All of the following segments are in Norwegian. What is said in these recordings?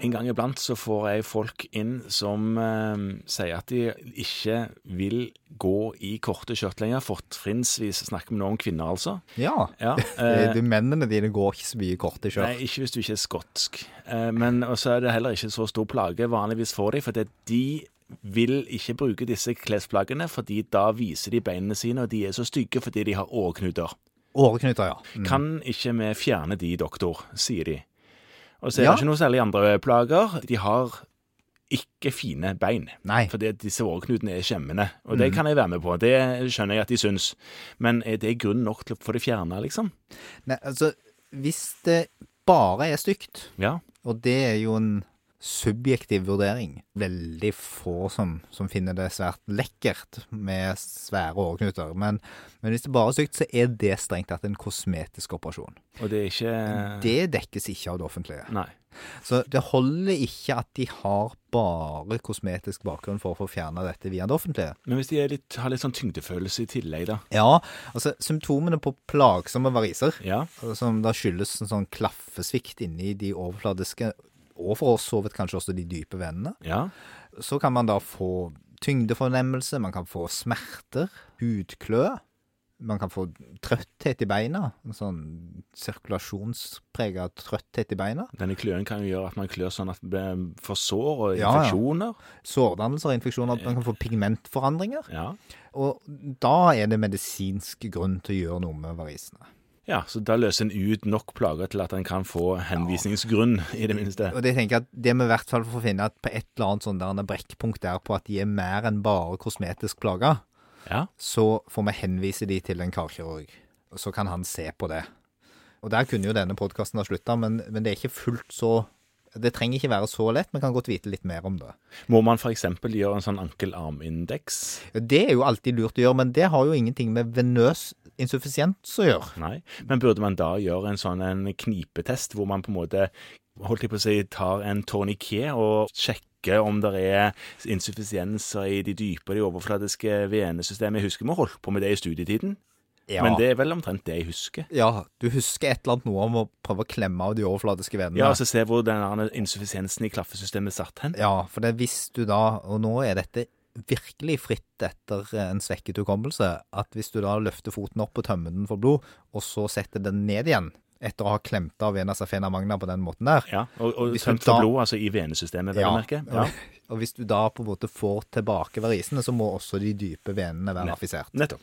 en gang iblant så får jeg folk inn som eh, sier at de ikke vil gå i korte skjørt lenger. Fortrinnsvis snakker vi nå om kvinner, altså. Ja. Ja, Eh, eh, de mennene dine går ikke så mye korte Nei, kjørt. ikke hvis du ikke er skotsk. Eh, Men og så er det heller ikke så stor plage vanligvis for dem, for det, de vil ikke bruke disse klesplaggene, fordi da viser de beinene sine, og de er så stygge fordi de har åreknuter. Åreknuter, ja. Mm, Kan ikke vi fjerne de, doktor, sier de. Og så er Ja. det ikke noe særlig andre plager. De har ikke fine bein. Nei. Fordi at disse åreknutene er skjemmende. Og det kan jeg være med på. Det skjønner jeg at de syns. Men er det grunn nok til å få det fjerna, liksom? Nei, altså, hvis det bare er stygt, Ja. og det er jo en subjektiv vurdering Veldig få som, som finner det svært lekkert med svære åreknuter. Men, men hvis det bare er stygt, så er det strengt tatt en kosmetisk operasjon. Og det er ikke Det dekkes ikke av det offentlige. Nei. Så det holder ikke at de har bare kosmetisk bakgrunn for å få fjerna dette via det offentlige. Men hvis de er litt, har litt sånn tyngdefølelse i tillegg, da? Ja, altså symptomene på plagsomme variser, altså, Ja. som da skyldes en sånn klaffesvikt inni de overfladiske, og for oss så vidt kanskje også de dype vennene, ja. så kan man da få tyngdefornemmelse, man kan få smerter, hudklø, man kan få trøtthet i beina, en sånn sirkulasjonspreget trøtthet i beina, Denne kløen kan jo gjøre at man klør sånn at man får sår og Ja, ja. infeksjoner. sårdannelser, infeksjoner, man kan få pigmentforandringer, Ja. og da er det medisinsk grunn til å gjøre noe med varisene. ja. Så da løser en ut nok plager til at en kan få henvisningsgrunn, i det minste. Og det tenker jeg at det vi i hvert fall får finne at på et eller annet sånn der brekkpunkt der på at de er mer enn bare kosmetisk plaga, Ja. så får vi henvise de til en karkirurg. Og så kan han se på det. Og der kunne jo denne podkasten ha slutta, men, men det er ikke fullt så Det trenger ikke være så lett, vi kan godt vite litt mer om det. Må man f.eks. gjøre en sånn ankelarmindeks? Det er jo alltid lurt å gjøre, men det har jo ingenting med venøs insuffisiens å gjøre. Nei. Men burde man da gjøre en sånn en knipetest, hvor man på en måte holdt jeg på å si, tar en torniké og sjekker om det er insufficienser i de dype og de overfladiske venesystemet? Jeg husker vi holdt på med det i studietiden. Ja. Men det er vel omtrent det jeg husker. ja, du husker et eller annet noe om å prøve å klemme av de overfladiske venene. Ja, altså se hvor den der insufficiensen i klaffesystemet satt hen. Ja, for det hvis du da, og nå er dette virkelig fritt etter eh, en svekket hukommelse, at hvis du da løfter foten opp og tømmer den for blod, og så setter den ned igjen, etter å ha klemt av vena safena magna på den måten der, Ja, og, og Hvis tømt du for da- blod, altså i venesystemet, vel å merke. Ja. og hvis du da på en måte får tilbake varisene, så må også de dype venene være affisert. Nettopp.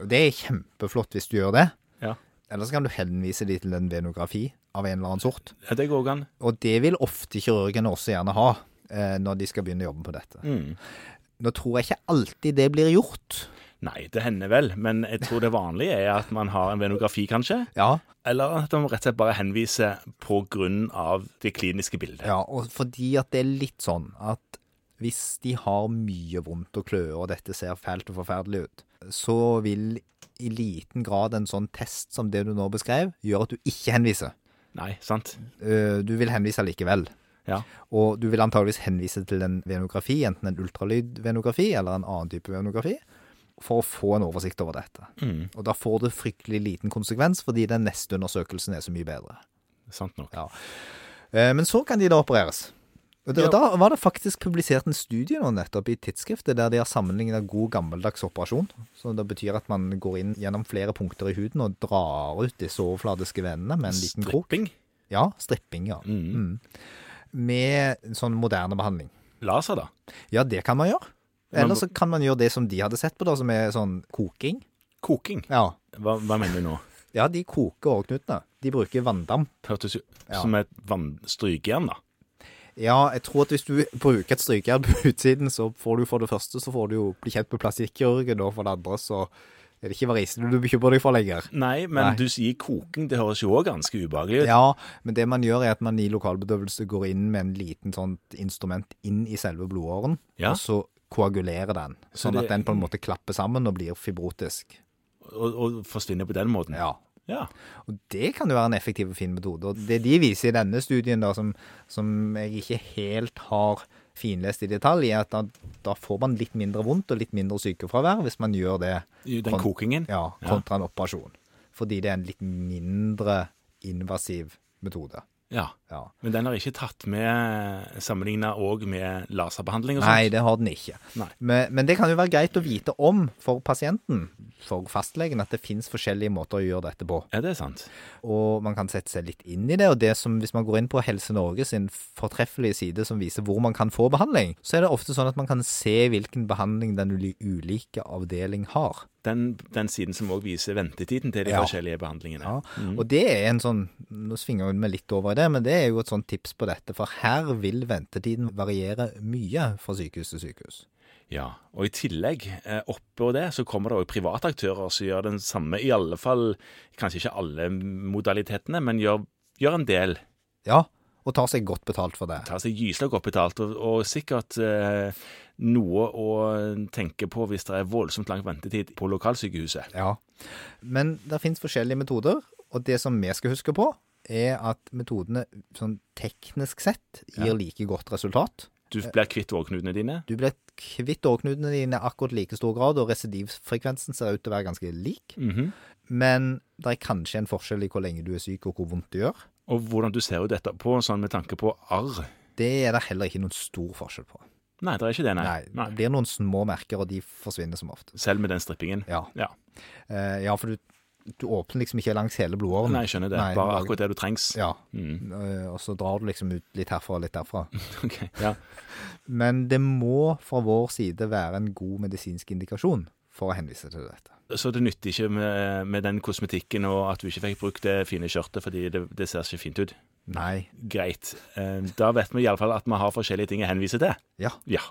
Og Det er kjempeflott hvis du gjør det, Ja. ellers kan du henvise de til en venografi av en eller annen sort. ja, det går an. Og det vil ofte kirurgene også gjerne ha eh, når de skal begynne å jobbe på dette. Nå tror jeg ikke alltid det blir gjort. Nei, det hender vel, men jeg tror det vanlige er at man har en venografi, kanskje. Ja, Eller at man rett og slett bare henviser på grunn av det kliniske bildet. ja og fordi at det er litt sånn at hvis de har mye vondt og kløe, og dette ser fælt og forferdelig ut, så vil i liten grad en sånn test som det du nå beskrev, gjøre at du ikke henviser. Nei, sant? Eh, Du vil henvise likevel. Ja. Og du vil antageligvis henvise til en venografi, enten en ultralydvenografi eller en annen type venografi, for å få en oversikt over dette. Og da får det fryktelig liten konsekvens, fordi den neste undersøkelsen er så mye bedre. Sant nok. Ja. Eh, Men så kan de da opereres. Og da, Ja. da var det faktisk publisert en studie nå nettopp i tidsskriftet der de har sammenligna god gammeldags operasjon, som da betyr at man går inn gjennom flere punkter i huden og drar ut disse overfladiske venene med en liten krok. Stripping. Ja, stripping, ja. Mm. Med sånn moderne behandling. Laser, da. Ja, det kan man gjøre. Men- Eller så kan man gjøre det som de hadde sett på, da, som er sånn koking. Koking. Ja, Hva, hva mener du nå? ja de koker åreknutene. De bruker vanndamp. Hørtes ut Ja. som et vannstrykejern, da. Ja, jeg tror at hvis du bruker et strykejern på utsiden, så får du for det første så får du jo bli kjent med plastikkirurgen, og for det andre så er det ikke varisene du bekymrer deg for lenger. Nei, men Nei. du sier koking, det høres jo òg ganske ubehagelig ut. Ja, men det man gjør er at man i lokalbedøvelse går inn med en liten sånt instrument inn i selve blodåren, Ja. og så koagulerer den, Så sånn det- at den på en måte klapper sammen og blir fibrotisk. Og, og forsvinner på den måten. Ja. ja. Og det kan jo være en effektiv og fin metode. Og det de viser i denne studien, da, som, som jeg ikke helt har finlest i detalj, er at da, da får man litt mindre vondt og litt mindre sykefravær hvis man gjør det I den Kon- kokingen? ja, kontra en operasjon. Fordi det er en litt mindre invasiv metode. Ja. Ja. Men den har ikke tatt med sammenligna òg med laserbehandling og Nei, sånt? det har den ikke. Nei. Men, men det kan jo være greit å vite om for pasienten, for fastlegen, at det finnes forskjellige måter å gjøre dette på. Ja, det er sant. Og man kan sette seg litt inn i det. Og det som, hvis man går inn på Helse Norge sin fortreffelige side som viser hvor man kan få behandling, så er det ofte sånn at man kan se hvilken behandling den uli- ulike avdeling har. Den, den siden som òg viser ventetiden til de Ja. forskjellige behandlingene. Ja, Og det er en sånn Nå svinger vi litt over i det, men det er jo et sånt tips på dette. For her vil ventetiden variere mye fra sykehus til sykehus. Ja, og i tillegg, eh, oppå det, så kommer det òg private aktører som gjør den samme, i alle fall kanskje ikke alle modalitetene, men gjør, gjør en del. Ja, og tar seg godt betalt for det. Tar seg gyselig godt betalt, og, og sikkert eh, noe å tenke på hvis det er voldsomt lang ventetid på lokalsykehuset. Ja. Men det finnes forskjellige metoder, og det som vi skal huske på, er at metodene sånn teknisk sett gir Ja. like godt resultat. Du blir kvitt vårknutene dine. Du blir kvitt årknutene dine i akkurat like stor grad, og residivfrekvensen ser ut til å være ganske lik. Mhm. Men det er kanskje en forskjell i hvor lenge du er syk, og hvor vondt det gjør. Og hvordan du ser ut etterpå, sånn med tanke på arr. Det er det heller ikke noen stor forskjell på. Nei, det er ikke det, nei. Nei, nei. Det blir noen små merker, og de forsvinner som oftest. Selv med den strippingen. Ja, Ja. Eh, ja for du, du åpner liksom ikke langs hele blodåren. Nei, jeg skjønner det. Nei, Bare lager- akkurat det du trengs. Ja, Mm. eh, og så drar du liksom ut litt herfra og litt derfra. Ok, ja. Men det må fra vår side være en god medisinsk indikasjon for å henvise til dette. Så det nytter ikke med, med den kosmetikken og at du ikke fikk brukt det fine skjørtet fordi det, det ser ikke fint ut. Nei. Greit. Eh, Da vet vi iallfall at vi har forskjellige ting å henvise til. Ja. Ja.